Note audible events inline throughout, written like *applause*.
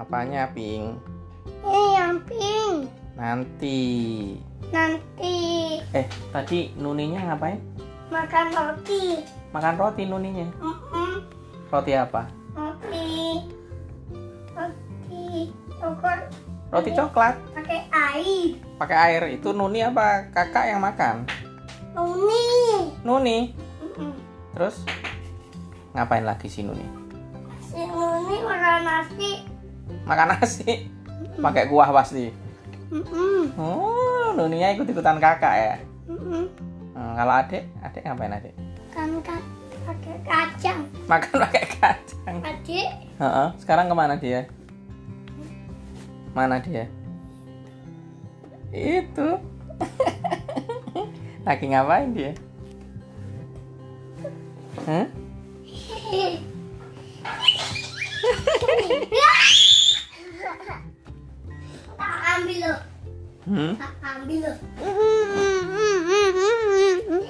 Apanya, Ping? Ini yang pink. Nanti. Nanti Eh, tadi nuninya ngapain? makan roti. Makan roti nuninya. Mm-mm. Roti apa? Roti. Roti. Ukur Roti coklat. pakai air. Pakai air. Itu nuni apa? Kakak yang makan. Nuni. Nuni. Mm-mm. Terus ngapain lagi si nuni? Si Nuni makan nasi. Makan nasi. Pakai kuah pasti. Mm-mm. Oh, nuninya ikut-ikutan kakak ya. Mm-mm. Hmm, kalau adik, adik ngapain adik? Kan kan pakai kacang. Makan pakai kacang. Adik *laughs* Heeh. Sekarang kemana dia? Mana dia? Itu. *laughs* Lagi ngapain dia? Hah? Ya. tak ambil lo, Hmm? tak ambil lo.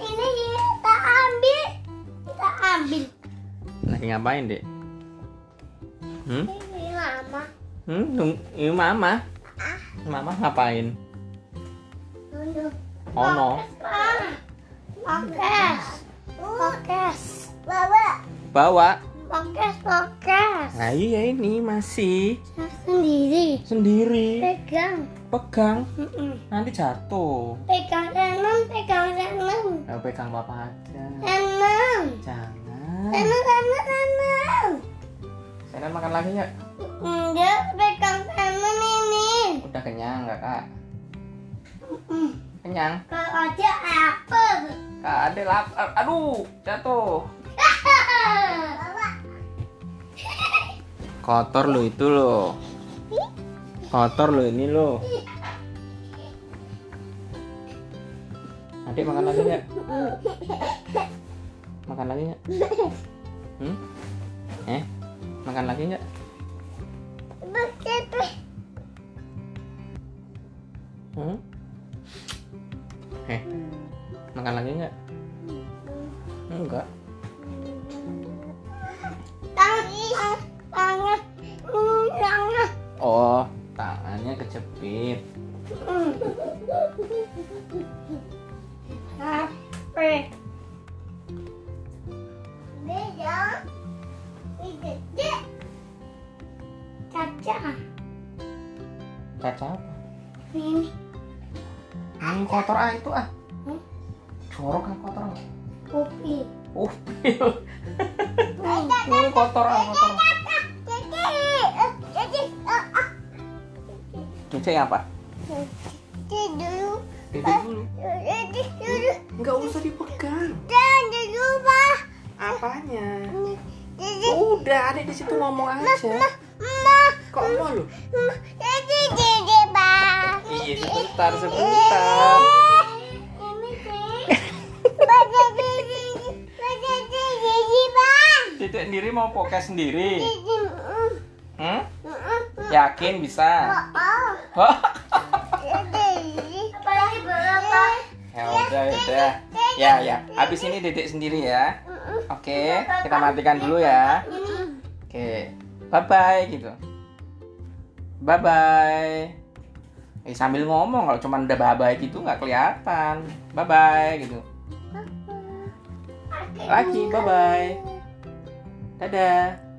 Ini ini tak ambil, tak ambil. Lagi ngapain, Dek? Hmm? Ini lama. Hmm, Dung- ini mama. Mama ngapain? Tunggu. Oh no. Ah. Pokes, pokes, Oh. bawa, Bawa. pokes, pokes. Nah, iya ini masih Saya sendiri Eh. sendiri. pegang, Pegang, Mm-mm. nanti jatuh. pegang tangan, pegang tangan, Nah, pegang papa aja. tangan, Jangan. tangan, tangan, tangan. Senan makan lagi ya. Enggak, pegang tangan ini. Udah kenyang nggak kak? Kenyang. Kalau ada apa? Kak Ade lapar. eh, Aduh, jatuh. Kotor lo itu lo. Kotor lo ini lo. Adik makan lagi nggak? Makan lagi nggak? Hmm? Eh, makan lagi nggak? Begitu. Hmm? Eh, makan lagi nggak? Enggak. Tangan, tangan, tangan. Oh, tangannya kejepit. Apa? Beda. Beda. Caca. Caca apa? Ini. Hmm, kotor ah itu ah. Hmm? Jorok ah kotor. ah. Kopi. Uh, ini kotor ah kotor. eh, ah, Cuci apa? Tidur Eh, dulu. Enggak usah dipegang. Apanya? Udah, adik di situ ngomong Oh, aja. Kok mau lu? Iya, sebentar, Eh, sebentar. Titik sendiri mau pokes sendiri. mm, Hmm? Yakin Oh, bisa? Apalagi berapa? ya udah, ya udah. Ya, ya. Habis ini titik sendiri ya. mm, Oke, kita matikan dulu ya. Oke, bye bye gitu. Bye bye. Eh, sambil ngomong kalau cuman udah bye bye gitu nggak kelihatan. Bye bye gitu. mm. Lagi bye bye. Dadah. 嗯